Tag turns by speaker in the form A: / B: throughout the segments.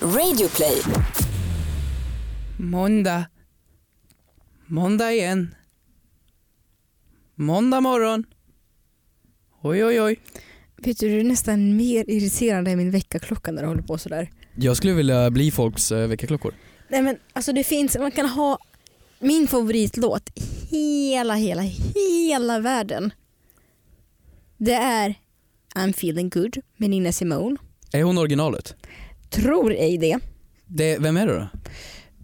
A: Radioplay.
B: Måndag. Måndag igen. Måndag morgon. Oj, oj, oj.
C: Vet du, du är nästan mer irriterande än min väckarklocka när du håller på sådär.
D: Jag skulle vilja bli folks eh, veckaklockor.
C: Nej men alltså det finns, man kan ha min favoritlåt i hela, hela, hela världen. Det är I'm feeling good med Nina Simone.
D: Är hon originalet?
C: Tror ej det.
D: Det, vem är det då?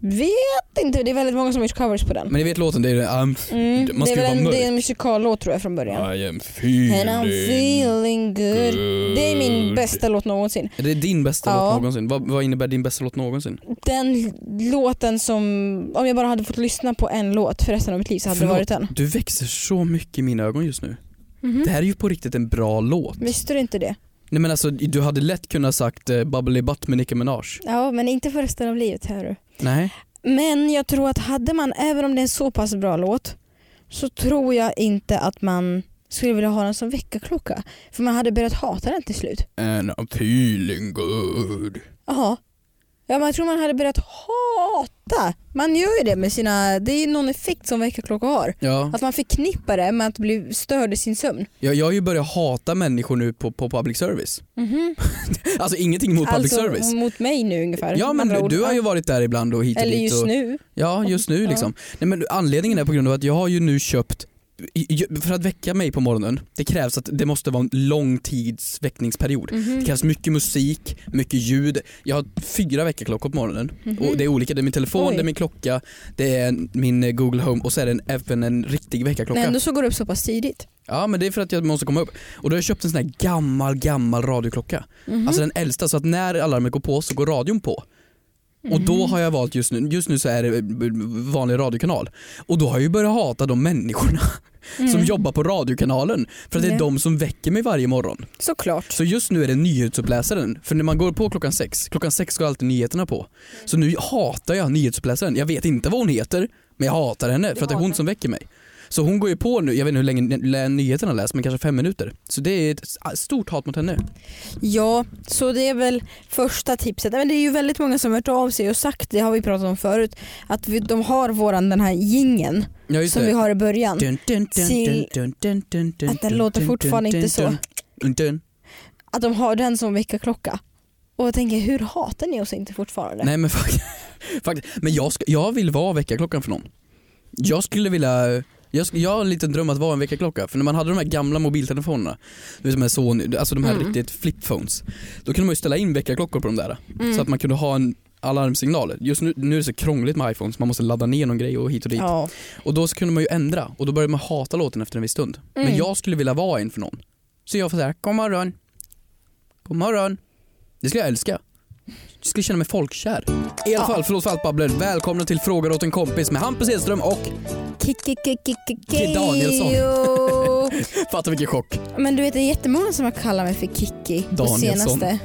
C: Vet inte, det är väldigt många som har gjort covers på den.
D: Men ni vet låten, det är I'm,
C: Mm,
D: man
C: det,
D: ska ju
C: är väl
D: vara
C: en,
D: mörk.
C: det är en musikallåt tror jag från början.
D: I am
C: And I'm feeling good. Det är min
D: good.
C: bästa låt någonsin.
D: Är det din bästa
C: Ja.
D: låt någonsin? Vad, vad innebär din bästa låt någonsin?
C: Den låten som, om jag bara hade fått lyssna på en låt för resten av mitt liv så hade
D: Förlåt.
C: det varit den.
D: Du växer så mycket i mina ögon just nu.
C: Mhm.
D: Det här är ju på riktigt en bra låt.
C: Visste du inte det?
D: Nej men alltså du hade lätt kunnat sagt eh, Bubbly Butt med Nicki Minaj.
C: Ja, men inte för resten av livet hör du.
D: Nej.
C: Men jag tror att hade man, även om det är en så pass bra låt, så tror jag inte att man skulle vilja ha den som väckarklocka. För man hade börjat hata den till slut.
D: And I'm feeling good.
C: Jaha. Ja, men jag tror man hade börjat hata. Man gör ju det med sina, det är någon effekt som väckarklocka har.
D: Ja.
C: Att man förknippar det med att bli störd i sin sömn.
D: Jag, jag har ju börjat hata människor nu på, på public service. Alltså ingenting mot public
C: Alltså
D: service.
C: mot mig nu ungefär.
D: Ja
C: Andra
D: men
C: ord.
D: du har ju varit där ibland och hit och
C: Eller
D: dit.
C: just
D: Och,
C: nu.
D: ja just nu
C: Ja.
D: liksom. Nej, men anledningen är på grund av att jag har ju nu köpt för att väcka mig på morgonen, det krävs att det måste vara en lång tids väckningsperiod.
C: Mm-hmm,
D: Det krävs mycket musik, mycket ljud. Jag har fyra väckarklockor på morgonen.
C: mm-hmm.
D: Och det är olika, det är min telefon,
C: Mm. Oj.
D: det är min klocka, det är en- min eh, Google Home och så är det en, även en riktig väckarklocka.
C: Men ändå så går det upp så pass tidigt.
D: Ja men det är för att jag måste komma upp. Och då har jag köpt en sån här gammal, gammal radioklocka.
C: Mm. Mm-hmm.
D: Alltså den äldsta så att när alarmet går på så går radion på. Och då har jag valt just nu, just nu så är det eh, vanlig radiokanal. Och då har jag ju börjat hata de människorna
C: Mm-hmm.
D: som jobbar på radiokanalen. För att det är
C: Mm. Ja.
D: de som väcker mig varje morgon.
C: Såklart.
D: Så just nu är det nyhetsuppläsaren. För när man går på klockan sex, klockan sex går alltid nyheterna på. Så nu hatar jag nyhetsuppläsaren. Jag vet inte vad hon heter, men jag hatar henne för att det är hon som väcker mig. Så hon går ju på nu, jag vet inte hur länge ny- nyheterna läst, men kanske fem minuter. Så det är ett stort hat mot henne.
C: Ja, så det är väl första tipset. Men det är ju väldigt många som har hört av sig och sagt, det har vi pratat om förut, att vi, de har våran den här gingen
D: Ja, just
C: som
D: det.
C: vi har i början.
D: Dun, dun, dun,
C: Till-
D: dun, dun, dun, dun,
C: att den
D: dun,
C: låter
D: dun,
C: fortfarande
D: dun,
C: inte så.
D: dun, dun, dun.
C: Att de har den som väckarklocka. Och jag tänker, hur hatar ni oss inte fortfarande?
D: Nej men faktiskt, faktiskt. Men jag, ska, jag vill vara väckarklockan för någon. Jag skulle vilja, jag, sk- jag har en liten dröm att vara en väckarklocka. För när man hade de här gamla mobiltelefonerna, du vet de här Sony, alltså de här riktigt flipphones. Då kunde man ju ställa in väckarklockor på de där.
C: Mm.
D: Så att man kunde ha en alarmsignal. Just nu, nu är det så krångligt med iPhones, man måste ladda ner någon grej och hit och dit.
C: Ja.
D: Och då så kunde man ju ändra och då började man hata låten efter en viss stund. Men jag skulle vilja vara en för någon. Så jag får säga god morgon, god morgon. Det skulle jag älska. Jag skulle känna mig folkkär. I alla fall, förlåt för allt babbel. Välkomna till Frågar åt en kompis med Hampus Hedström och
C: Kikki
D: Danielsson. fatta vilken chock.
C: Men du vet det är jättemånga som har kallat mig för Kikki på
D: Danielsson.
C: senaste.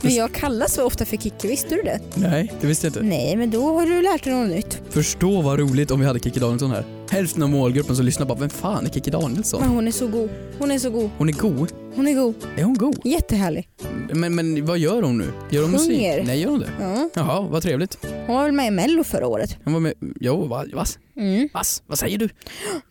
C: Men jag kallas så ofta för Kikki, visste du det?
D: Nej, det visste jag inte.
C: Nej, men då har du lärt dig något nytt.
D: Förstå vad roligt om vi hade Kikki Danielsson här. Hälften av målgruppen som lyssnar bara, vem fan är Kikki Danielsson?
C: Men hon är så god. Hon är så god.
D: Hon är god.
C: Hon är god.
D: Är hon god?
C: Jättehärlig.
D: Men, men vad gör hon nu? Gör hon musik?
C: Sjunger.
D: Nej, gör hon det?
C: Ja.
D: Jaha, vad trevligt.
C: Hon var väl med i mello förra året?
D: Hon var med, jo, va, vas,
C: Mm,
D: vas, vad säger du?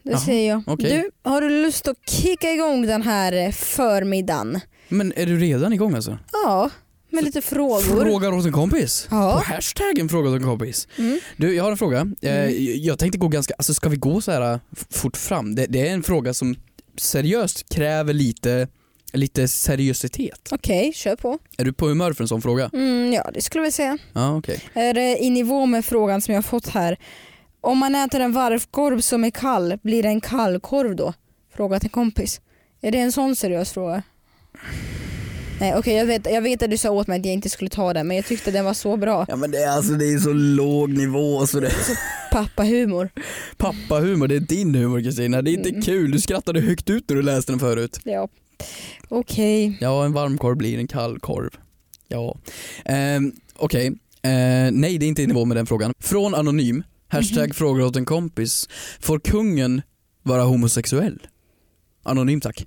C: det
D: Jaha,
C: säger jag.
D: okej.
C: Du, har du lust att kicka igång den här eh, förmiddagen?
D: Men är du redan igång alltså?
C: Ja, med lite frågor.
D: Frågar åt en kompis?
C: Ja. mm,
D: På hashtaggen frågar åt en kompis. Du, jag har en fråga. Eh, jag tänkte gå ganska, alltså ska vi gå så här eh, f- fort fram? Det, det är en fråga som seriöst kräver lite, lite seriositet.
C: Okej, kör på.
D: Är du på humör för en sån fråga?
C: Mm, ja, det skulle jag väl säga.
D: Ja, okej.
C: Är det i nivå med frågan som jag har fått här? Om man äter en varvkorv som är kall, blir det en kallkorv då? Fråga till kompis. Är det en sån seriös fråga? Nej okej jag, vet, jag vet att du sa åt mig att jag inte skulle ta den men jag tyckte den var så bra.
D: Ja men det är alltså det är så låg nivå så det...
C: Pappahumor.
D: Pappahumor, det är din humor Kristina. Det är inte kul, du skrattade högt ut när du läste den förut.
C: Ja. Okej.
D: Ja, en varm korv blir en kall korv. Ja. Ehm, Okej. Eh, nej, det är inte i nivå med den frågan. Från Anonym,
C: Mhm.
D: hashtag frågar åt en kompis. Får kungen vara homosexuell?
C: Mhm.
D: Anonym tack.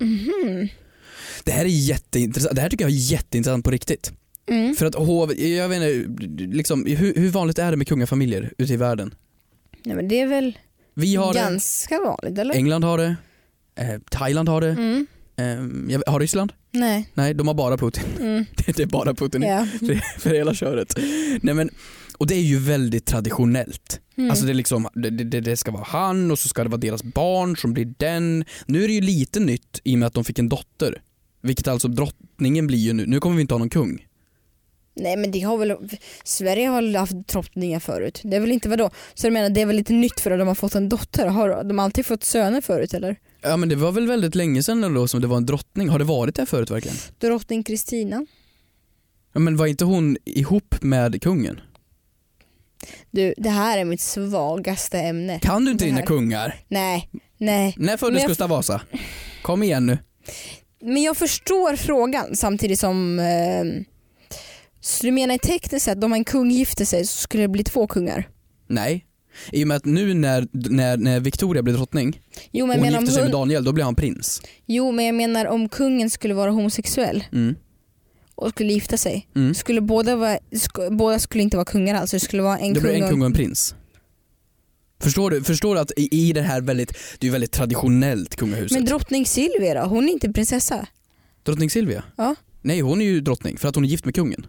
D: Det här är jätteintressant. Det här tycker jag är jätteintressant på riktigt.
C: Mm.
D: För att hov, jag vet inte, liksom, hur, hur vanligt är det med kungafamiljer ute i världen?
C: Nej, men det är väl
D: Vi har det,
C: ganska vanligt eller?
D: England har det, eh, Thailand har det,
C: Mm.
D: eh, jag vet- har Ryssland?
C: Nej.
D: Nej, de har bara Putin.
C: Mm.
D: det är bara Putin
C: Ja.
D: för, för hela köret. Nej, men, och det är ju väldigt traditionellt.
C: Mm.
D: Alltså det, är liksom, det, det, det ska vara han och så ska det vara deras barn som blir den. Nu är det ju lite nytt i och med att de fick en dotter. Vilket alltså drottningen blir ju nu. Nu kommer vi inte ha någon kung.
C: Nej men det har väl, Sverige har väl haft drottningar förut. Det är väl inte vadå? Så du menar det är väl lite nytt för att de har fått en dotter? Har de alltid fått söner förut eller?
D: Ja men det var väl väldigt länge sedan då som det var en drottning. Har det varit det förut verkligen?
C: Drottning Kristina.
D: Ja, men var inte hon ihop med kungen?
C: Du, det här är mitt svagaste ämne.
D: Kan du inte
C: Det här-
D: dina kungar?
C: Nej, nej.
D: När
C: Men
D: föddes
C: jag-
D: Gustav Vasa? Kom igen nu.
C: Men jag förstår frågan samtidigt som... Eh, så du menar tekniskt sett, om en kung gifter sig så skulle det bli två kungar?
D: Nej. I och med att nu när, när, när Victoria blir drottning
C: Jo
D: och
C: men, jag
D: hon
C: menar om
D: gifter sig med
C: hund-
D: Daniel, då blir han prins.
C: jo men jag menar om kungen skulle vara homosexuell
D: Mm.
C: och skulle gifta sig.
D: Mm.
C: Skulle båda, vara, sk- båda skulle inte vara kungar alltså, det skulle vara en
D: det
C: kung,
D: blir en
C: och-
D: kung och en prins. Förstår du, förstår du att i, i det här väldigt, det är ju väldigt traditionellt kungahuset.
C: Men drottning Silvia då? Hon är inte prinsessa.
D: drottning Silvia?
C: Ja.
D: Nej hon är ju drottning för att hon är gift med kungen.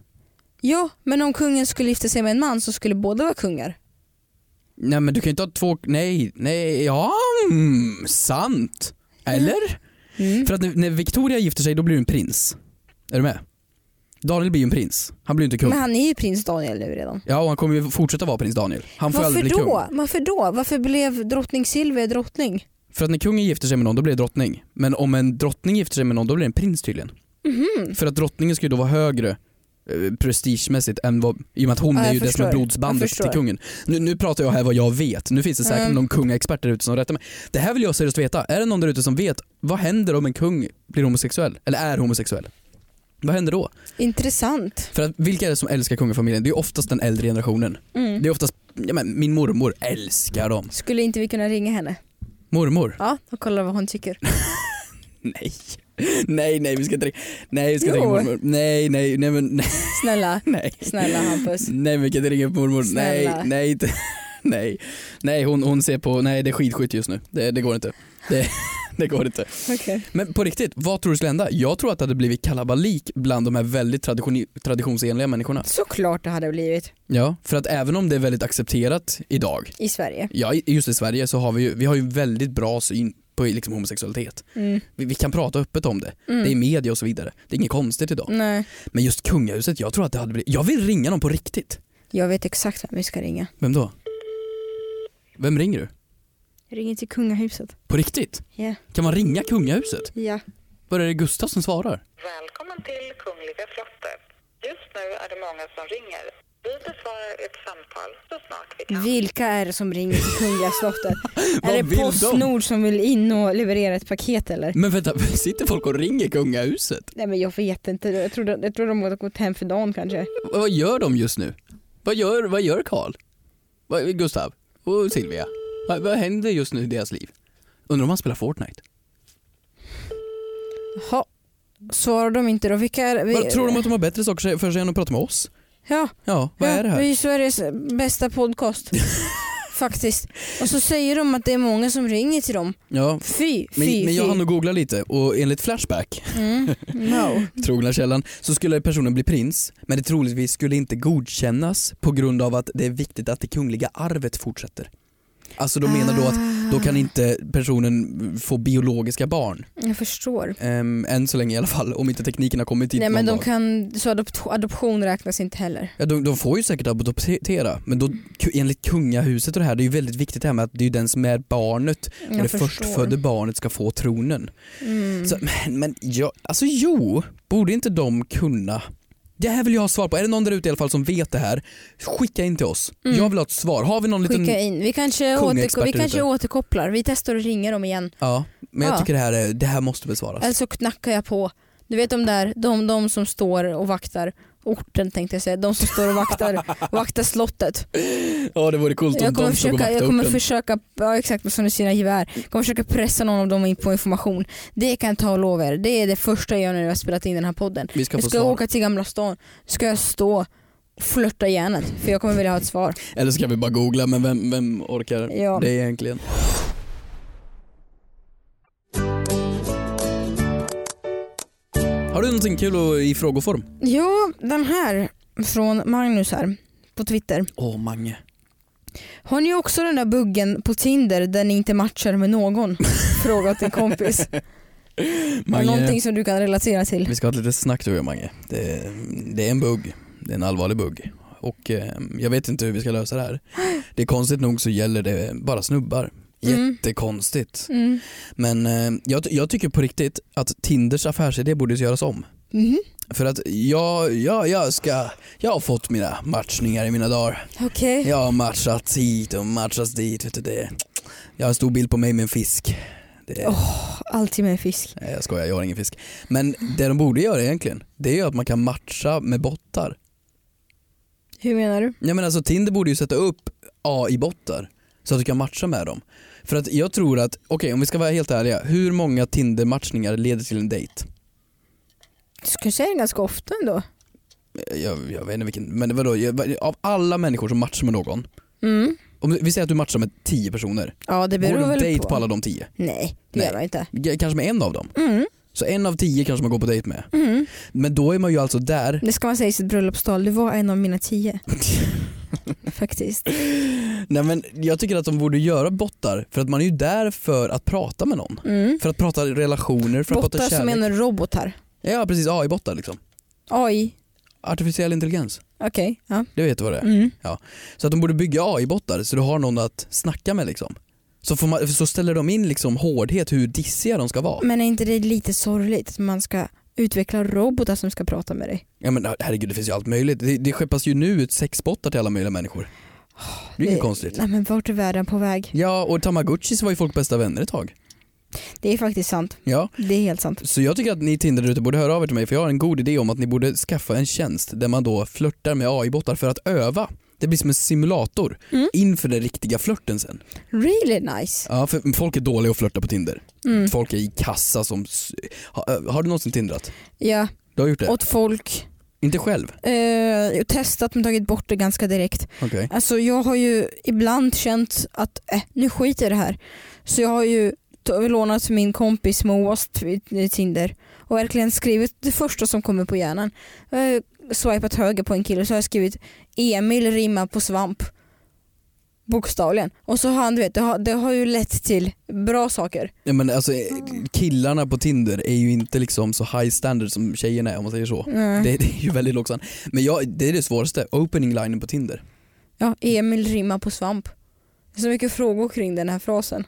C: Ja, men om kungen skulle gifta sig med en man så skulle båda vara kungar.
D: Nej men du kan ju inte ha två, nej, nej, ja, mm, sant. Eller?
C: Mm.
D: För att när, när Victoria gifter sig då blir du en prins. Är du med? Daniel blir ju en prins, han blir ju inte kung.
C: Men han är ju prins Daniel nu redan.
D: Ja och han kommer ju fortsätta vara prins Daniel. Han får
C: Varför
D: aldrig bli kung.
C: då? Varför då? Varför blev drottning Silvia drottning?
D: För att när kungen gifter sig med någon då blir det drottning. Men om en drottning gifter sig med någon då blir det en prins tydligen.
C: Mhm.
D: För att drottningen skulle då vara högre eh, prestigemässigt än vad, i och med att hon
C: Ja, jag
D: är ju det som är
C: förstår. Jag
D: blodsbandet
C: förstår.
D: till kungen. Nu, nu pratar jag här vad jag vet, nu finns det säkert
C: Mm.
D: någon kungaexpert där ute som rättar mig. Det här vill jag seriöst veta, är det någon där ute som vet vad händer om en kung blir homosexuell? Eller är homosexuell? Vad händer då?
C: Intressant.
D: För att, vilka är det som älskar kungafamiljen? Det är oftast den äldre generationen.
C: Mm.
D: Det är oftast, ja, men, min mormor älskar dem.
C: Skulle inte vi kunna ringa henne?
D: Mormor?
C: Ja, och kolla vad hon tycker.
D: Nej. Nej nej vi ska inte ringa- Nej vi ska inte
C: Jo.
D: ringa mormor. Nej nej nej men nej.
C: Snälla,
D: nej.
C: snälla Hampus.
D: Nej men kan inte ringa upp mormor.
C: Snälla.
D: Nej, nej, inte. nej. Nej hon, hon ser på, nej det är skidskytt just nu. Det, det går inte. Det, det går inte.
C: Okej.
D: Men på riktigt, vad tror du skulle hända? Jag tror att det hade blivit kalabalik bland de här väldigt tradition, traditionsenliga människorna.
C: Såklart det hade blivit
D: Ja, för att även om det är väldigt accepterat idag,
C: i Sverige.
D: ja, i- just i Sverige så har vi ju, vi har ju en väldigt bra syn på liksom homosexualitet.
C: Mm.
D: Vi, vi kan prata öppet om det.
C: Mm.
D: Det är media och så vidare. Det är inget konstigt idag.
C: Nej.
D: Men just kungahuset, jag tror att det hade blivit, jag vill ringa någon på riktigt.
C: Jag vet exakt vem vi ska ringa.
D: Vem då? Vem ringer du?
C: Ring till kungahuset.
D: På riktigt?
C: Ja.
D: Kan man ringa kungahuset?
C: Ja.
D: Var är det Gustav som svarar?
A: Välkommen till Kungliga slottet. Just nu är det många som ringer. Vi besvarar ett samtal så snart vi kan.
C: Vilka är det som ringer till Kungliga slottet?
D: Vad
C: är det
D: vill de?
C: Postnord som vill in och leverera ett paket eller?
D: Men vänta, sitter folk och ringer kungahuset?
C: Nej men jag vet inte, jag tror, jag tror de har gått hem för dagen kanske.
D: Vad- Vad gör de just nu? Vad gör, vad gör Karl? Vad, Gustav? Och Silvia? Vad, vad händer just nu i deras liv? Undrar om han spelar Fortnite?
C: Jaha, svarar de inte då? Vilka är vi?
D: Vad, tror de att de har bättre saker för sig än att prata med oss?
C: Ja,
D: Ja, vad
C: ja
D: är det här?
C: vi är Sveriges bästa podcast. Faktiskt. Och så säger de att det är många som ringer till dem.
D: Ja,
C: Fy, fy,
D: men, men jag
C: fy.
D: hann nog googla lite och enligt Flashback,
C: Mm, no.
D: trogna källan, så skulle personen bli prins men det troligtvis skulle inte godkännas på grund av att det är viktigt att det kungliga arvet fortsätter. Alltså de menar då att Då kan inte personen få biologiska barn.
C: Ah, Jag förstår.
D: Um, än så länge i alla fall, om inte tekniken har kommit dit
C: Nej men
D: någon
C: de
D: dag.
C: kan, så adopt, adoption räknas inte heller.
D: Ja, de, de får ju säkert adoptera, men då, ku- enligt kungahuset och det här, det är ju väldigt viktigt det här med att det är ju den som är barnet,
C: Jag
D: och det
C: förstår.
D: förstfödda barnet ska få tronen.
C: Mm.
D: Så, men men ja, alltså jo, borde inte de kunna? Det här vill jag ha svar på, är det någon där ute i alla fall som vet det här, skicka in till oss.
C: Mm.
D: Jag vill ha ett svar, har vi någon liten...
C: Skicka in. Vi kanske,
D: kungexpert
C: återko- vi
D: ute. Alltså-
C: kanske återkopplar. Vi testar att ringa dem igen.
D: Ja, men jag
C: Ja. Alltså,
D: tycker det här, är, det här måste besvaras.
C: Eller så knackar jag på. Du vet de där, de, de som står och vaktar orten tänkte jag säga. De som står och vaktar, vaktar slottet.
D: Ja det vore coolt om
C: Jag kommer
D: de stod och
C: försöka, jag
D: vaktade upp
C: kommer
D: den.
C: försöka ja, exakt som du säger, gevär. Jag kommer försöka pressa någon av dem in på information. Det kan jag ta och lova er. Det är det första jag gör när jag har spelat in den här podden.
D: Vi ska
C: Jag
D: få
C: ska jag
D: svar.
C: åka till Gamla stan, ska jag stå och flörta järnet för jag kommer vilja ha ett svar.
D: Eller ska vi bara googla men vem, vem orkar
C: Ja.
D: det egentligen? Har du någonting kul att- i frågeform?
C: Ja, den här från Magnus här på Twitter.
D: Åh Mange.
C: Har ni också den där buggen på Tinder där ni inte matchar med någon? Fråga till en kompis.
D: Mange.
C: Någonting som du kan relatera till.
D: Vi ska ha ett litet snack du och jag Mange. Det, det är en bugg. Det är en allvarlig bugg. Och eh, jag vet inte hur vi ska lösa det här. Det är konstigt nog så gäller det bara snubbar.
C: Mm.
D: Jättekonstigt.
C: Mm.
D: Men eh, jag, jag tycker på riktigt att Tinders affärsidé borde göras om.
C: Mhm.
D: För att jag, jag, jag, ska, jag har fått mina matchningar i mina dagar.
C: Okej.
D: Jag har matchat hit och matchats dit. Vet du det. Jag har en stor bild på mig med en fisk. Det,
C: Alltid med fisk.
D: Nej jag skojar, jag har ingen fisk. Men det de borde göra egentligen, det är ju att man kan matcha med bottar.
C: Hur menar du?
D: Jag menar alltså Tinder borde ju sätta upp AI-bottar så att du kan matcha med dem. För att jag tror att, okej om vi ska vara helt ärliga, hur många Tinder-matchningar leder till en dejt?
C: Du skulle säga det ganska ofta ändå.
D: jag, jag vet inte vilken, men vadå, jag, av alla människor som matchar med någon,
C: Mm.
D: om vi säger att du matchar med 10 personer,
C: Ja det
D: går
C: beror
D: du på
C: väl
D: dejt
C: på.
D: på. alla de 10?
C: Nej det
D: Nej.
C: gör man inte.
D: G- Kanske med en av dem.
C: Mm.
D: Så en av 10 kanske man går på dejt med.
C: Mm.
D: Men då är man ju alltså där,
C: Det ska man säga i sitt bröllopstal, du var en av mina tio. Faktiskt.
D: nej men jag tycker att de borde göra bottar för att man är ju där för att prata med någon.
C: Mm.
D: För att prata relationer, för att
C: Bottar
D: prata
C: som
D: kärlek.
C: menar robotar.
D: Ja precis, AI-bottar liksom.
C: AI.
D: Artificiell intelligens,
C: Okej. Ja.
D: det vet du vad det är.
C: Mm.
D: Så att de borde bygga AI-bottar så du har någon att snacka med liksom. Så, får man, så ställer de in liksom hårdhet hur dissiga de ska vara.
C: Men är inte det lite sorgligt att man ska utveckla robotar som ska prata med dig?
D: Ja men herregud det finns ju allt möjligt. Det, det skeppas ju nu ut sexbottar till alla möjliga människor. Det är inget
C: Det-
D: konstigt.
C: Eh, Nej men vart är världen på väg?
D: Ja och tamagotchis var ju folk bästa vänner ett tag.
C: Det är faktiskt sant.
D: Ja,
C: Det är helt sant.
D: så jag tycker att ni Tinder ute borde höra av er till mig för jag har en god idé om att ni borde skaffa en tjänst där man då flörtar med AI-bottar för att öva. Det blir som en simulator
C: Mm.
D: inför den riktiga flörten sen.
C: Really nice.
D: Ja, för folk är dåliga att flörta på Tinder.
C: Mm.
D: Folk är i kassa som... s- Ha, har du någonsin tindrat?
C: Ja,
D: Du har gjort det?
C: åt folk.
D: Inte själv?
C: Eh, testat men tagit bort det ganska direkt.
D: Okej.
C: Alltså jag har ju ibland känt att eh, nu skiter jag i det här. Så jag har ju t- lånat min kompis Moas t- Tinder och verkligen skrivit det första som kommer på hjärnan. Jag har ju swipat höger på en kille så har jag skrivit Emil rimmar på svamp. Bokstavligen. Och så har han, du vet, det har, det har ju lett till bra saker.
D: Ja, men alltså, eh, killarna på Tinder är ju inte liksom så high standard som tjejerna är om man säger så.
C: Mm.
D: Det, det är ju väldigt lågt stand. Men jag, det är det svåraste, opening linen på Tinder.
C: Ja, Emil rimmar på svamp. Det är så mycket frågor kring den här frasen.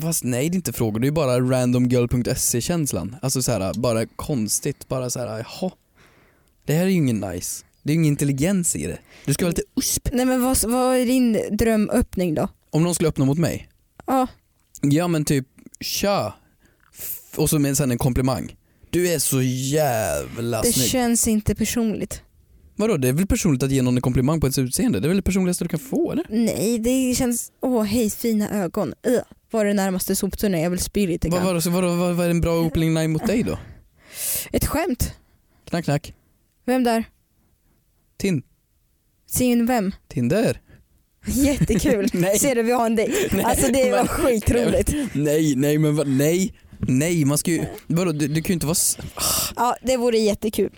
D: Fast nej det är inte frågor, det är bara randomgirl.se känslan. Alltså så här, bara konstigt, bara så här, jaha. Det här är ju ingen nice. Det är ju ingen intelligens i det. Du ska vara lite usp.
C: Nej men vad, vad är din drömöppning då?
D: Om någon skulle öppna mot mig,
C: Ja,
D: ja men typ tja. F- Och så med sen en komplimang. Du är så jävla
C: det
D: snygg.
C: känns inte personligt.
D: Vadå, det är väl personligt att ge någon en komplimang på ens utseende? Det är väl det personligaste du kan få eller?
C: Nej, det känns... Åh, hej fina ögon. Ugh. Var det närmaste soptunnan? Jag vill spy lite
D: Vad
C: grann.
D: vad- vad- vad- vad är en bra opening line mot dig då?
C: Ett skämt.
D: Knack knack.
C: Vem där?
D: Tin-
C: Sin vem?
D: Tinder.
C: Jättekul.
D: Nej.
C: Ser du, vi har en dejt.
D: Nej,
C: Alltså det var
D: men-
C: skitroligt.
D: Nej, nej men vad, nej. Nej, man ska ju, vadå, du, du kan ju inte vara, s-
C: Ja, det vore jättekul.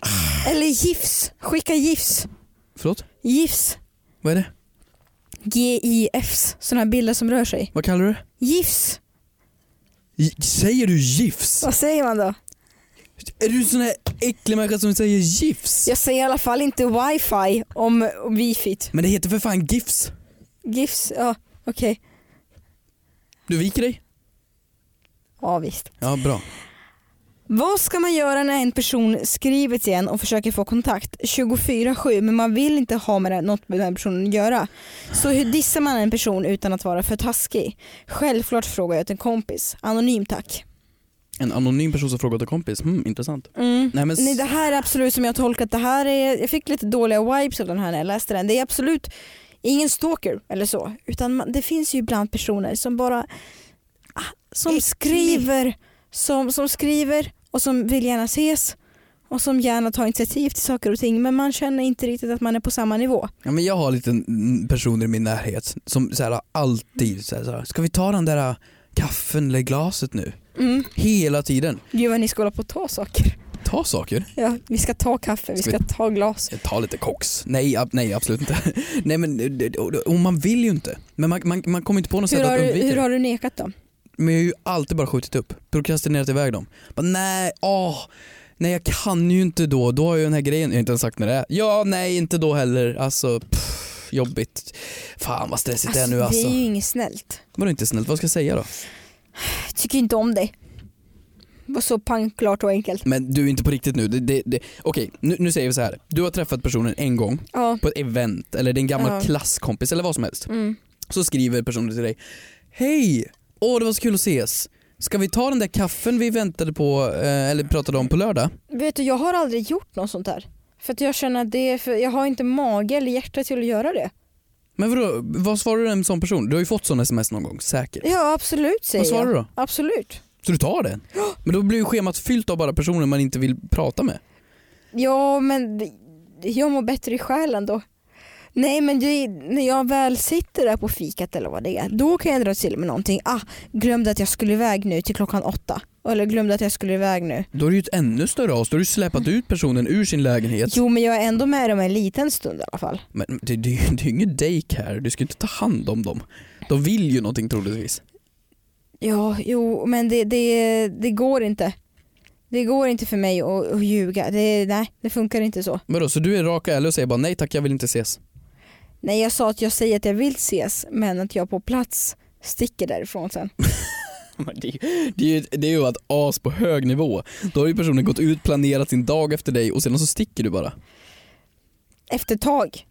C: Eller gifs. Skicka gifs.
D: förlåt?
C: Gifs.
D: Vad är det?
C: GIFs. Sådana här bilder som rör sig.
D: Vad kallar du det?
C: Gifs.
D: J- säger du gifs?
C: Vad säger man då?
D: Är du en sån här äcklig människa som säger gifs?
C: Jag säger i alla fall inte wifi om om wifit.
D: Men det heter för fan gifs.
C: GIFs, ja okej.
D: Du viker dig?
C: Ja visst.
D: Ja, bra.
C: Vad ska man göra när en person skriver till en och försöker få kontakt 24-7 men man vill inte ha med det- något med den personen att göra? Så hur dissar man en person utan att vara för taskig? Självklart frågar jag till en kompis. Anonym tack.
D: En anonym person som frågat en kompis, hmm, intressant.
C: Mm.
D: Nej men, s-
C: Nej, det här är absolut som jag har tolkat det här är, jag fick lite dåliga vibes av den här när jag läste den. Det är absolut ingen stalker eller så, utan man, det finns ju ibland personer som bara ah, som
E: Äcklig.
C: skriver, som, som skriver och som vill gärna ses och som gärna tar initiativ till saker och ting men man känner inte riktigt att man är på samma nivå.
D: Ja, men jag har lite mm, personer i min närhet som så här, alltid säger så här, ska vi ta den där äh, kaffen eller glaset nu?
C: Mm.
D: Hela tiden.
C: Gud vad ni ska hålla på att ta saker.
D: Ta saker.
C: Ja, vi ska ta kaffe, vi
D: Ska
C: ska ta glas.
D: Ta lite kox. Nej, ab- nej absolut inte. nej men det- och- och man vill ju inte. Men man, man, man kommer inte på något
C: Hur
D: sätt
C: har,
D: att
C: du,
D: undvika
C: hur
D: det.
C: har du nekat dem?
D: Men jag har ju alltid bara skjutit upp. Prokrastinerat iväg dem. Bara, nej, åh. Nej jag kan ju inte då. Då har jag ju den här grejen. Jag har inte ens sagt när det är. Ja, nej inte då heller. Alltså, pff, jobbigt. Fan vad stressigt det är nu alltså.
C: det är ju inget snällt.
D: Vadå inte snällt? Vad ska jag säga då?
C: Jag tycker inte om dig. Var så pangklart och enkelt.
D: Men du är inte på riktigt nu. Det, det, det. Okej, nu, nu säger vi så här. Du har träffat personen en gång
C: Ja.
D: på ett event eller din gamla
C: Ja.
D: klasskompis eller vad som helst.
C: Mm.
D: Så skriver personen till dig. Hej! Åh det var så kul att ses. Ska vi ta den där kaffen vi väntade på eh, eller pratade om på lördag?
C: Vet du, jag har aldrig gjort något sånt där. För att jag känner att det är för, jag har inte mage eller hjärta till att göra det.
D: Men vadå, vad svarar du en sån person? Du har ju fått sån sms någon gång säkert.
C: Ja absolut säger
D: vad svarar
C: jag.
D: du då?
C: Absolut.
D: Så du tar den? Men då blir ju schemat fyllt av bara personer man inte vill prata med.
C: Ja men det- jag mår bättre i själen då. Nej men det, när jag väl sitter där på fikat eller vad det är, då kan jag dra till med någonting. Ah, glömde att jag skulle iväg nu till klockan åtta. Eller glömde att jag skulle iväg nu.
D: Då är det ju ett ännu större as. Då har du ju släpat ut personen ur sin lägenhet.
C: Jo men jag är ändå med dem en liten stund i alla fall.
D: Men det, det, är ju- det är ju ingen daycare, du ska ju inte ta hand om dem. De vill ju någonting troligtvis.
C: Ja, jo, men det, det, det går inte. Det går inte för mig att, att ljuga. Det, nej, det funkar inte så.
D: Men då, så du är rak och ärlig och säger bara nej tack jag vill inte ses.
C: Nej, jag sa att jag säger att jag vill ses, men att jag på plats sticker därifrån sen.
D: Men Det, är ju- det, är ju- det är ju att as på hög nivå. Då har ju personen gått ut, planerat sin dag efter dig och sedan så sticker du bara.
C: Efter ett tag.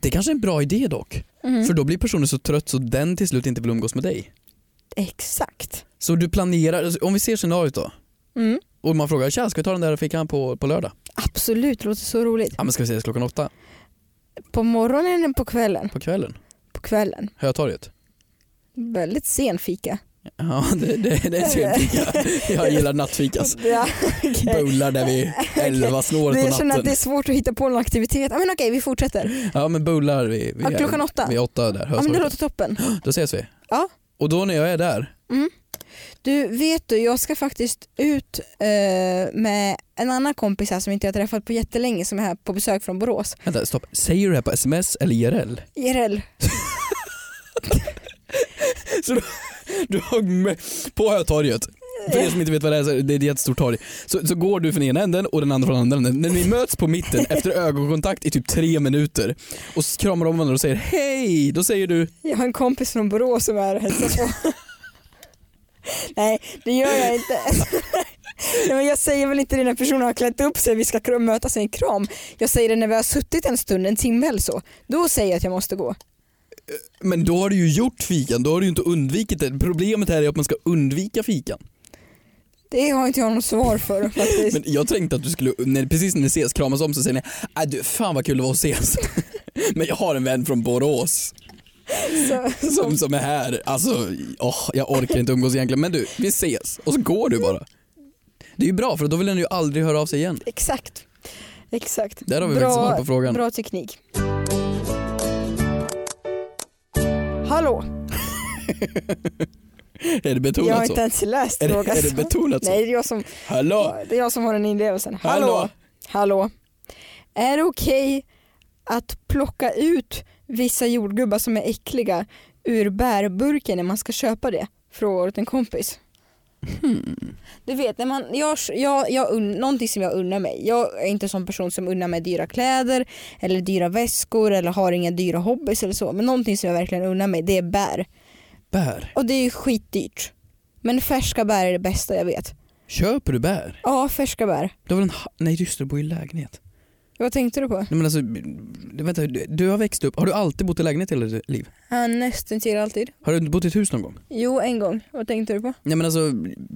D: Det är kanske är en bra idé dock.
C: Mm.
D: För då blir personen så trött så den till slut inte vill umgås med dig.
C: Exakt.
D: Så du planerar, alltså, om vi ser scenariot då.
C: Mm.
D: Och man frågar tja ska vi ta den där fickan på, på lördag?
C: Absolut, låter så roligt.
D: Ja men ska vi ses klockan åtta
C: På morgonen eller på kvällen?
D: på kvällen?
C: På kvällen.
D: Hötorget?
C: Väldigt sen fika.
D: Ja det, det, det är trevligt. Jag gillar nattfikas.
C: Ja, okej.
D: bullar där vid elva snåret
C: Jag
D: på
C: känner att det är
D: natten.
C: svårt att hitta på någon aktivitet. Ja, Men okej, vi fortsätter.
D: Ja men bullar vid, vid,
C: Ja, klockan åtta.
D: vid åtta där.
C: Ja, men det
D: hötorget.
C: låter toppen.
D: Då ses vi.
C: Ja.
D: Och då när jag är där,
C: Du, vet du, jag ska faktiskt ut eh, med en annan kompis här som inte jag har träffat på jättelänge som är här på besök från Borås.
D: vänta stopp, säger du det här på sms eller IRL?
C: IRL.
D: Du har med på Hötorget. För er som inte vet vad det är, så är det är ett jättestort torg. Så, så går du från ena änden och den andra från andra änden. När ni möts på mitten efter ögonkontakt i typ tre minuter och s- kramar om varandra och säger hej, då säger du
C: Jag har en kompis från Borås som är här och hälsar på. Nej, det gör jag inte. Nej, men jag säger väl inte det när personen har klätt upp sig, vi ska kr- mötas i en kram. Jag säger det när vi har suttit en stund, en timme eller så. Då säger jag att jag måste gå.
D: men då har du ju gjort fikan, då har du ju inte undvikit det. Problemet här är att man ska undvika fikan.
C: Det har inte jag något svar för faktiskt.
D: Men jag tänkte att du skulle, när, precis när ni ses kramas om så säger ni "Äh, du, fan vad kul det var att ses. Men jag har en vän från Borås
C: Så,
D: som, som är här. Alltså, åh, jag orkar inte umgås egentligen. Men du, vi ses. Och så går
C: Mm.
D: du bara. Det är ju bra för då vill den ju aldrig höra av sig igen.
C: exakt. Exakt.
D: Där har vi
C: Bra-
D: faktiskt svar på frågan.
C: Bra teknik. Hallå,
D: Är det
C: jag har
D: betonat så?
C: inte ens läst
D: Är det,
C: frågan.
D: är det betonat så?
C: Nej, det är, jag som,
D: Hallå?
C: det är jag som har den inlevelsen. Hallå.
D: Hallå.
C: Hallå. Är det okej att plocka ut vissa jordgubbar som är äckliga ur bärburken när man ska köpa det? Frågar åt en kompis. Hmm. Du vet, när man, jag, jag, jag, unn- någonting som jag unnar mig. Jag är inte en sån person som unnar mig dyra kläder eller dyra väskor eller har inga dyra hobbys eller så. Men någonting som jag verkligen unnar mig det är bär.
D: Bär?
C: Och det är ju skitdyrt. Men färska bär är det bästa jag vet.
D: Köper du bär?
C: Ja, färska bär.
D: Du har väl en ha- Nej just det, du bor i lägenhet.
C: Vad tänkte du på?
D: Nej men alltså, vänta, du, du har växt upp, har du alltid bott i lägenhet hela ditt liv?
C: Ja, nästan till alltid.
D: Har du inte bott i ett hus någon gång?
C: Jo, en gång. Vad tänkte du på?
D: Nej men alltså,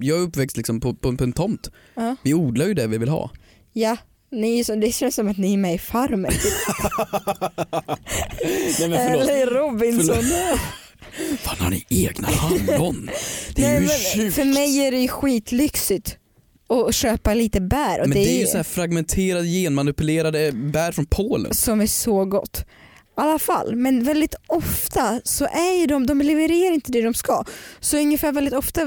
D: jag är uppväxt liksom på, på, på en tomt.
C: Ja.
D: Vi odlar ju det vi vill ha.
C: Ja, ni är så, det känns som att ni är med i Farmen.
D: Nej men förlåt.
C: Eller Robinson.
D: Fan har ni egna hallon? Det är
C: Nej,
D: ju
C: men
D: sjukt.
C: för mig är det ju skitlyxigt att köpa lite bär. Och
D: Men det är ju
C: ju-
D: så här fragmenterade genmanipulerade bär från Polen.
C: som är så gott. I alla fall, men väldigt ofta så är ju de, de levererar inte det de ska. Så ungefär väldigt ofta,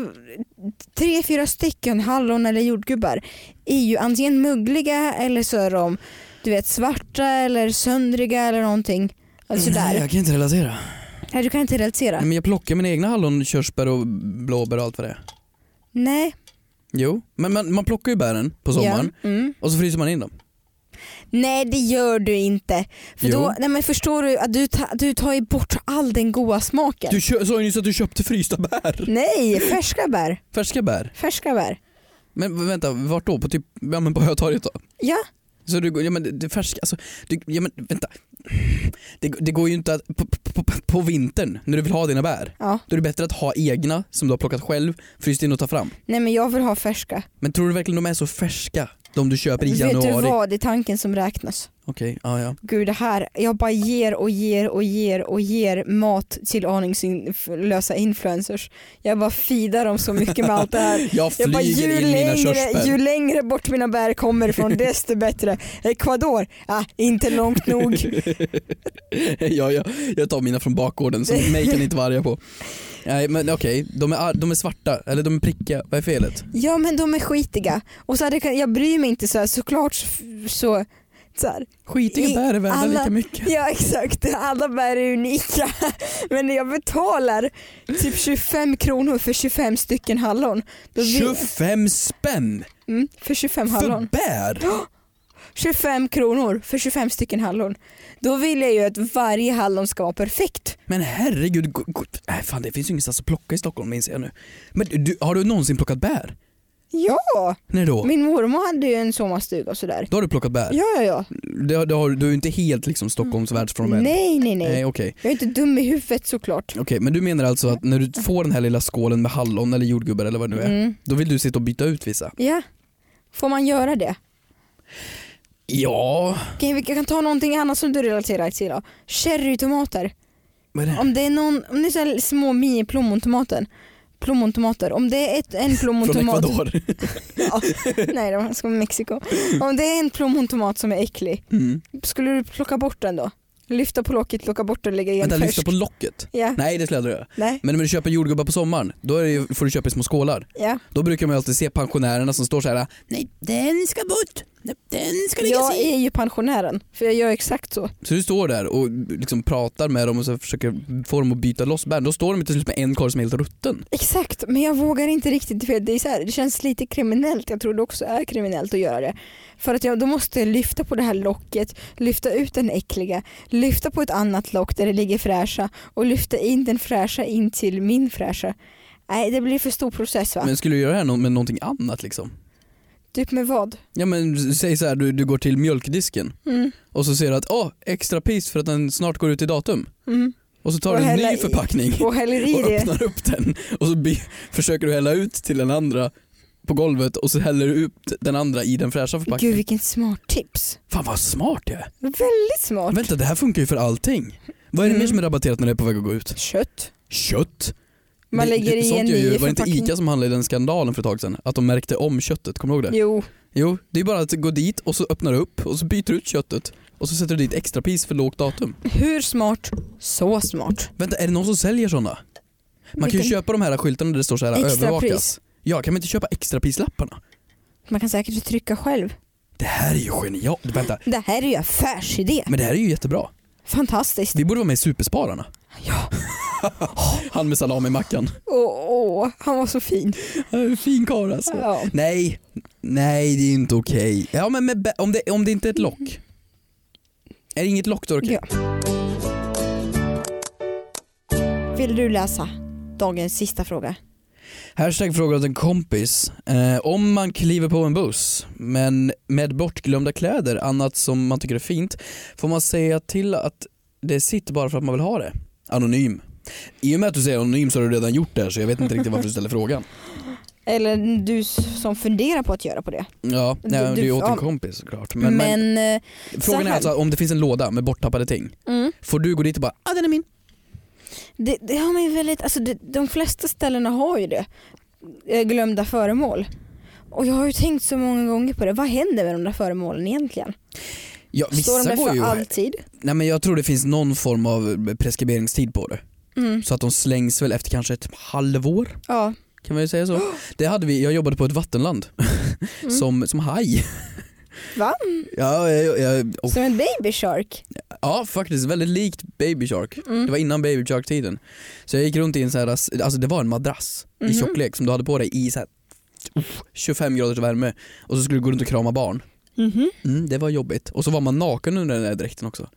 C: tre, fyra stycken hallon eller jordgubbar är ju antingen muggliga eller så är de du vet, svarta eller söndriga eller någonting. Alltså
D: Mm. Nej, Mm.
C: där.
D: jag kan inte relatera.
C: Nej, du kan inte relatera.
D: Nej, men jag plockar mina egna hallon, körsbär och blåbär och allt vad det är.
C: Nej.
D: Jo, men man, man plockar ju bären på sommaren
C: Ja. Mm.
D: och så fryser man in dem.
C: Nej det gör du inte. För
D: Jo.
C: då, nej, men förstår du att du, ta, du tar ju bort all den goda smaken.
D: Du kö- sa ju nyss att du köpte frysta bär.
C: Nej, färska bär.
D: Färska bär.
C: Färska bär.
D: Men v- vänta, vart då? På typ, ja men på Hötorget då?
C: Ja.
D: Så du, går- ja men det- det färska, alltså, du, ja men vänta. Det, det går ju inte att, på, på, på, på vintern när du vill ha dina bär,
C: ja.
D: då är det bättre att ha egna som du har plockat själv, fryst in och ta fram.
C: Nej men jag vill ha färska.
D: Men tror du verkligen de är så färska? De du köper i
C: Vet du
D: januari?
C: vad, det är tanken som räknas.
D: Okej, ja ja.
C: Gud det här, jag bara ger och ger och ger och ger mat till aningslösa influencers. Jag bara feedar dem så mycket med allt det här.
D: Jag
C: Jag bara,
D: flyger
C: ju
D: in mina
C: längre,
D: körsbär.
C: ju längre bort mina bär kommer ifrån desto bättre. Ecuador, ah, inte långt nog.
D: ja, ja, jag tar mina från bakgården så mig kan ni inte vara arga på. Nej men okej, de, är, ar- de är svarta, eller de är prickiga, vad är felet?
C: Ja men de är skitiga. Och så här, det kan, jag bryr mig inte så här, såklart så, så, så här.
D: Skitiga
C: I-
D: bär är värda
C: alla-
D: lika mycket.
C: Ja exakt, alla bär är unika. Men när jag betalar typ 25 kronor för 25 stycken hallon. Då vi-
D: 25 spänn
C: mm, för 25
D: för
C: hallon.
D: bär!
C: 25 kronor för 25 stycken hallon. Då vill jag ju att varje hallon ska vara perfekt.
D: Men herregud, go, go, nej, fan, det finns ju ingenstans att plocka i Stockholm minns jag nu. Men du, har du någonsin plockat bär?
C: Ja,
D: När då?
C: min mormor hade ju en sommarstuga och sådär.
D: Då har du plockat bär?
C: Ja, ja, ja.
D: Det, det har, du är ju inte helt liksom Stockholms världsfrånvänd?
C: Nej, nej, nej.
D: Nej okej.
C: Jag är inte dum i huvudet såklart.
D: Okej, men du menar alltså att när du får den här lilla skålen med hallon eller jordgubbar eller vad det nu är,
C: Mm.
D: då vill du sitta och byta ut vissa?
C: Ja. Får man göra det?
D: Ja,
C: Okej, vi kan ta någonting annat som du relaterar till då. Cherrytomater.
D: vad är det?
C: Om det är någon, om det är så här små mini plommontomater. Plommontomater. Om det är ett, en
D: Från
C: plommontomat.
D: Ecuador.
C: Ja, nej, de ska från Mexiko. Om det är en plommontomat som är äcklig,
D: Mm.
C: skulle du plocka bort den då? Lyfta på locket, plocka bort den, lägga igen
D: Vänta,
C: färsk?
D: lyfta på locket?
C: Ja,
D: Nej det skulle jag aldrig göra.
C: nej,
D: Men när du köper jordgubbar på sommaren, då är det, ju- får du köpa i små skålar.
C: ja.
D: Då brukar man ju alltid se pensionärerna som står så här. nej den ska bort, den ska läggas
C: Jag
D: i.
C: är ju pensionären, för jag gör exakt så.
D: Så du står där och liksom pratar med dem och så försöker få dem att byta loss bär. Då står de ju till slut med en korg som är helt rutten.
C: Exakt, men jag vågar inte riktigt för det, är så här, det känns lite kriminellt. Jag tror det också är kriminellt att göra det. För att jag då måste jag lyfta på det här locket, lyfta ut den äckliga, lyfta på ett annat lock där det ligger fräscha och lyfta in den fräscha in till min fräscha. Nej, det blir för stor process va?
D: Men skulle du göra det här nå- med någonting annat liksom?
C: Typ med vad?
D: Ja men s- säg så här, du, du går till mjölkdisken
C: Mm.
D: och så ser du att åh, extra pris för att den snart går ut i datum.
C: Mm.
D: Och så
C: Och
D: tar du en
C: hälla
D: ny
C: i-
D: förpackning.
C: Och häller i
D: och
C: det.
D: öppnar upp den och så by- försöker du hälla ut till den andra på golvet och så häller du upp den andra i den fräscha förpackningen.
C: Gud vilken smart tips.
D: Fan vad smart jag är.
C: Väldigt smart.
D: Vänta det här funkar ju för allting. Vad är det
C: Mm.
D: mer som är rabatterat när det är på väg att gå ut?
C: Kött.
D: Kött?
C: Man
D: Det-
C: lägger
D: det,
C: i
D: sånt
C: en
D: är ju,
C: ny
D: Var det inte
C: förpackning.
D: ICA som handlade i den skandalen för ett tag sedan? Att de märkte om köttet, kommer du ihåg det?
C: Jo,
D: Jo, det är bara att gå dit och så öppnar du upp och så byter du ut köttet och så sätter du dit extrapris för lågt datum.
C: hur smart? Så smart.
D: Vänta, är det någon som säljer sådana? Man kan ju
C: Vilken-
D: köpa de här skyltarna där det står så här
C: Extrapris.
D: övervakas. Ja, kan man inte köpa extraprislapparna?
C: Man kan säkert trycka själv.
D: Det här är ju genialt. Vänta,
C: Det här är ju affärsidé.
D: men det här är ju jättebra.
C: Fantastiskt.
D: Vi borde vara med i Superspararna.
C: Ja.
D: Han med salami-mackan.
C: Åh, åh, han var så fin.
D: Fin karl alltså.
C: Ja.
D: Nej, nej det är inte okej. Ja men med, bä- om, det, om det inte är ett lock. Är det inget lock då är det okej?
C: Vill du läsa dagens sista fråga?
D: Hashtag frågar åt en kompis. Eh, om man kliver på en buss men med bortglömda kläder, annat som man tycker är fint, får man säga till att det sitter bara för att man vill ha det? Anonym. I och med att du säger anonym så har du redan gjort det här så jag vet inte riktigt varför du ställer frågan.
C: Eller du s- som funderar på att göra på det.
D: Ja, nej,
C: Du-
D: det är
C: du-
D: ju åt en
C: ja.
D: kompis såklart. Men,
C: Men,
D: men,
C: eh, så
D: frågan är
C: här-
D: alltså om det finns en låda med borttappade ting.
C: mm,
D: Får du gå dit och bara ah den är min.
C: det, det har man ju väldigt, alltså det, de flesta ställena har ju det. Eh, Glömda föremål. Och jag har ju tänkt så många gånger på det. Vad händer med de där föremålen egentligen?
D: Ja,
C: Står de
D: vissa
C: där
D: går
C: för
D: ju...
C: alltid?
D: Nej, men jag tror det finns någon form av preskriberingstid på det.
C: Mm,
D: Så att de slängs väl efter kanske ett halvår.
C: ja.
D: Kan man ju säga så. Det hade vi, jag jobbade på ett vattenland. som, som haj.
C: Va?
D: Mm. Ja, jag, jag, och,
C: Som en baby shark.
D: ja, faktiskt väldigt likt Baby Shark.
C: Mm.
D: Det var innan Baby Shark tiden. Så jag gick runt i en sån här, alltså det var en madrass
C: Mhm.
D: i tjocklek som du hade på dig i så här 25 graders värme och så skulle du gå runt och krama barn.
C: Mhm.
D: Mm, det var jobbigt. Och så var man naken under den där dräkten också.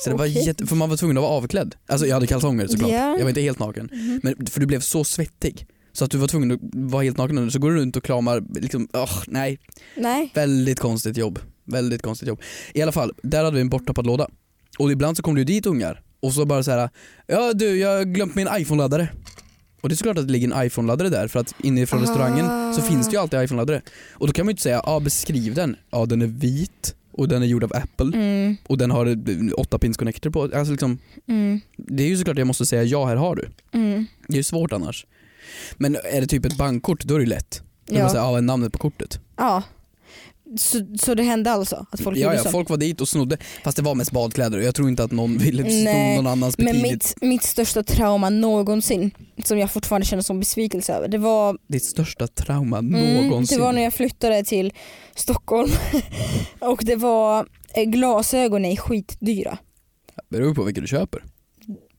D: Så det var
C: Okej.
D: jätte, för man var tvungen att vara avklädd. Alltså jag hade kalsonger såklart,
C: Ja. Mhm.
D: jag var inte helt naken. Men, för du blev så svettig. Så att du var tvungen att vara helt naken under, så går du runt och kramar, liksom, åh nej.
C: Nej.
D: Väldigt konstigt jobb. Väldigt konstigt jobb. I alla fall, där hade vi en borttappad låda. Och ibland så kom det ju dit ungar och så bara så här, ja du jag har glömt min iPhone-laddare. Och det är såklart att det ligger en iPhone-laddare där för att inifrån restaurangen så
C: Ah.
D: finns det ju alltid iPhone-laddare. Och då kan man ju inte säga, ja beskriv den. Ja den är vit och den är gjord av Apple
C: Mm,
D: och den har 8-pins connector på. Alltså liksom,
C: mm,
D: det är ju såklart jag måste säga ja här har du.
C: mm.
D: Det är ju svårt annars. Men är det typ ett bankkort då är det ju lätt. Då
C: Ja.
D: man säger, ja vad är namnet på kortet?
C: Ja. Så, så det hände alltså att folk
D: ja,
C: gjorde
D: ja,
C: så?
D: folk var dit och snodde. Fast det var mest badkläder och jag tror inte att någon ville sno
C: Nej,
D: någon annans
C: Men
D: bikini.
C: mitt, mitt största trauma någonsin, som jag fortfarande känner som besvikelse över, det var,
D: Ditt största trauma
C: mm,
D: någonsin.
C: det var när jag flyttade till Stockholm och det var eh, glasögon är skitdyra.
D: beror på vilka du köper.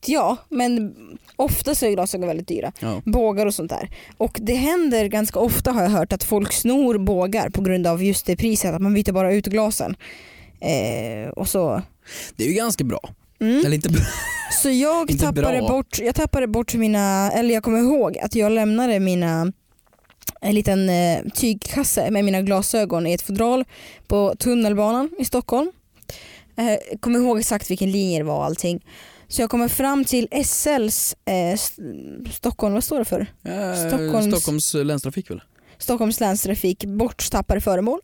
C: Ja, men ofta så är glasögon väldigt dyra.
D: Ja.
C: Bågar och sånt där. Och det händer ganska ofta har jag hört att folk snor bågar på grund av just det priset, att man byter bara ut glasen. Eh, och så.
D: Det är ju ganska bra.
C: Mm.
D: Eller inte bra.
C: Så jag
D: Inte
C: tappade,
D: bra.
C: bort, jag tappade bort mina, eller jag kommer ihåg att jag lämnade mina en liten eh, tygkasse med mina glasögon i ett fodral på tunnelbanan i Stockholm. Eh, kommer ihåg exakt vilken linje det var och allting. Så jag kommer fram till SLs eh, S- Stockholm, vad står det för?
D: Eh,
C: Stockholms-
D: Stockholms länstrafik väl?
C: Stockholms länstrafik borttappade föremål.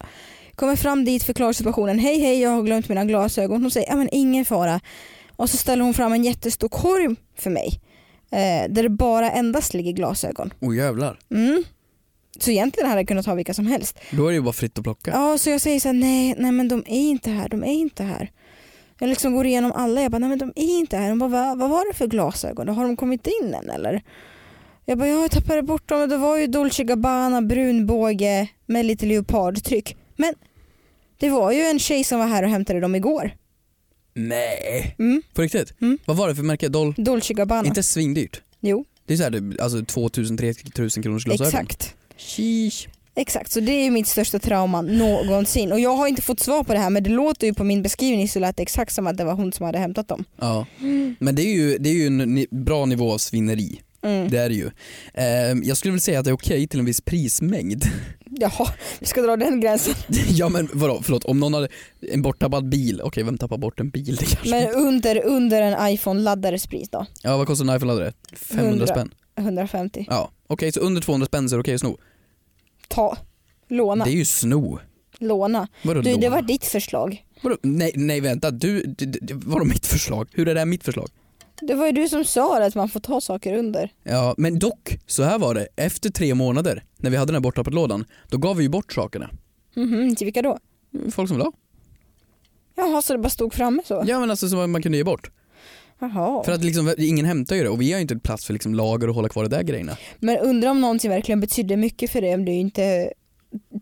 C: Kommer fram dit, förklarar situationen. Hej hej, jag har glömt mina glasögon. Hon säger, ja men ingen fara. Och så ställer hon fram en jättestor korg för mig. Eh, där det bara endast ligger glasögon.
D: Oh jävlar.
C: Mm. Så egentligen hade jag kunnat ha vilka som helst.
D: Då är det ju bara fritt att plocka.
C: Ja, så jag säger så här, nej, nej men de är inte här, de är inte här. Jag liksom går igenom alla, jag bara, nej men de är inte här. Hon bara, Va, vad var det för glasögon? Har de kommit in än eller? Jag bara, ja, jag tappade bort dem. Det var ju Dolce Gabbana, brunbåge med lite leopardtryck. Men det var ju en tjej som var här och hämtade dem igår.
D: Nej.
C: Mm,
D: På riktigt?
C: Mm.
D: Vad var det för märke? Doll?
C: Dolce Gabbana.
D: Inte svindyrt.
C: Jo,
D: Det är såhär alltså 2000-3000 kronors glasögon.
C: exakt.
D: Sheesh.
C: Exakt, så det är mitt största trauma någonsin. Och jag har inte fått svar på det här men det låter ju på min beskrivning så lät det exakt som att det var hon som hade hämtat dem.
D: Ja. Men det är ju, det är ju en ni- bra nivå av svineri.
C: Mm.
D: Det är det ju. Ehm, jag skulle väl säga att det är okej till en viss prismängd.
C: Jaha, vi ska dra den gränsen.
D: ja men vadå, förlåt om någon hade en borttappad bil, okej vem tappar bort en bil? Det kanske
C: Men
D: inte-
C: under, under en iPhone-laddares pris då?
D: Ja vad kostar en iPhone-laddare? 500
C: 100.
D: spänn?
C: 150.
D: Ja okej så under 200 spänn så är det okej att sno.
C: Ta. Låna.
D: Det är ju sno.
C: Låna.
D: Vadå
C: Du,
D: lån?
C: det var ditt förslag.
D: vadå? Nej, nej vänta, du, du, du, vadå mitt förslag? Hur är det här mitt förslag?
C: Det var ju du som sa att man får ta saker under.
D: Ja men dock, så här var det, efter tre månader när vi hade den här borttappat-lådan, då gav vi ju bort sakerna.
C: Mhm, till vilka då?
D: Folk som la.
C: Jaha, så det bara stod framme så?
D: Ja men alltså som man kunde ge bort.
C: Jaha.
D: För att liksom, ingen hämtar ju det och vi har ju inte plats för liksom lager och hålla kvar det där grejerna.
C: Men undrar om någonting verkligen betydde mycket för dig om du inte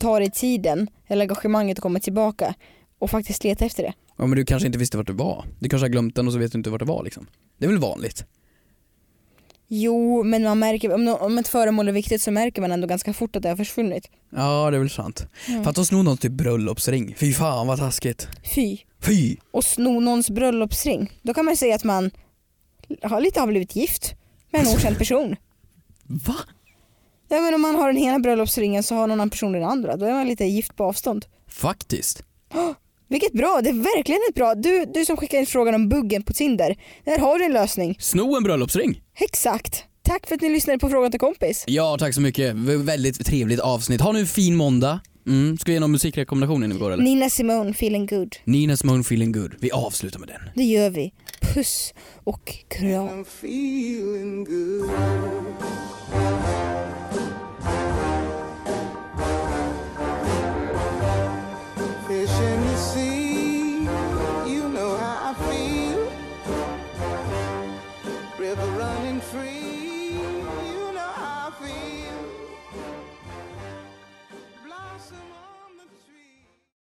C: tar dig tiden eller engagemanget att komma tillbaka och faktiskt leta efter det.
D: Ja men du kanske inte visste vart det var. Du kanske har glömt den och så vet du inte vart det var liksom. Det är väl vanligt?
C: Jo, men man märker, om, nå- om ett föremål är viktigt så märker man ändå ganska fort att det har försvunnit.
D: Ja det är väl sant. För att de snor någon typ bröllopsring. Fy fan vad taskigt.
C: Fy.
D: Fy!
C: och sno någons bröllopsring. Då kan man ju säga att man har lite har blivit gift med en okänd person.
D: Va?
C: Ja men om man har den ena bröllopsringen så har någon annan person den andra. Då är man lite gift på avstånd.
D: Faktiskt.
C: Vilket bra, det är verkligen ett bra. Du, du som skickade in frågan om buggen på Tinder. Där har du en lösning.
D: Sno en bröllopsring.
C: Exakt. Tack för att ni lyssnade på Frågan till kompis.
D: Ja, tack så mycket. V- Väldigt trevligt avsnitt. Ha nu en fin måndag. Mm. Ska vi ge någon musikrekommendation innan vi går eller?
C: Nina Simone, feeling good.
D: Nina Simone Feeling Good. Vi avslutar med den.
C: Det gör vi. Puss och kram.
E: I'm feeling good. Fish in the sea, you know how I feel. River running free, you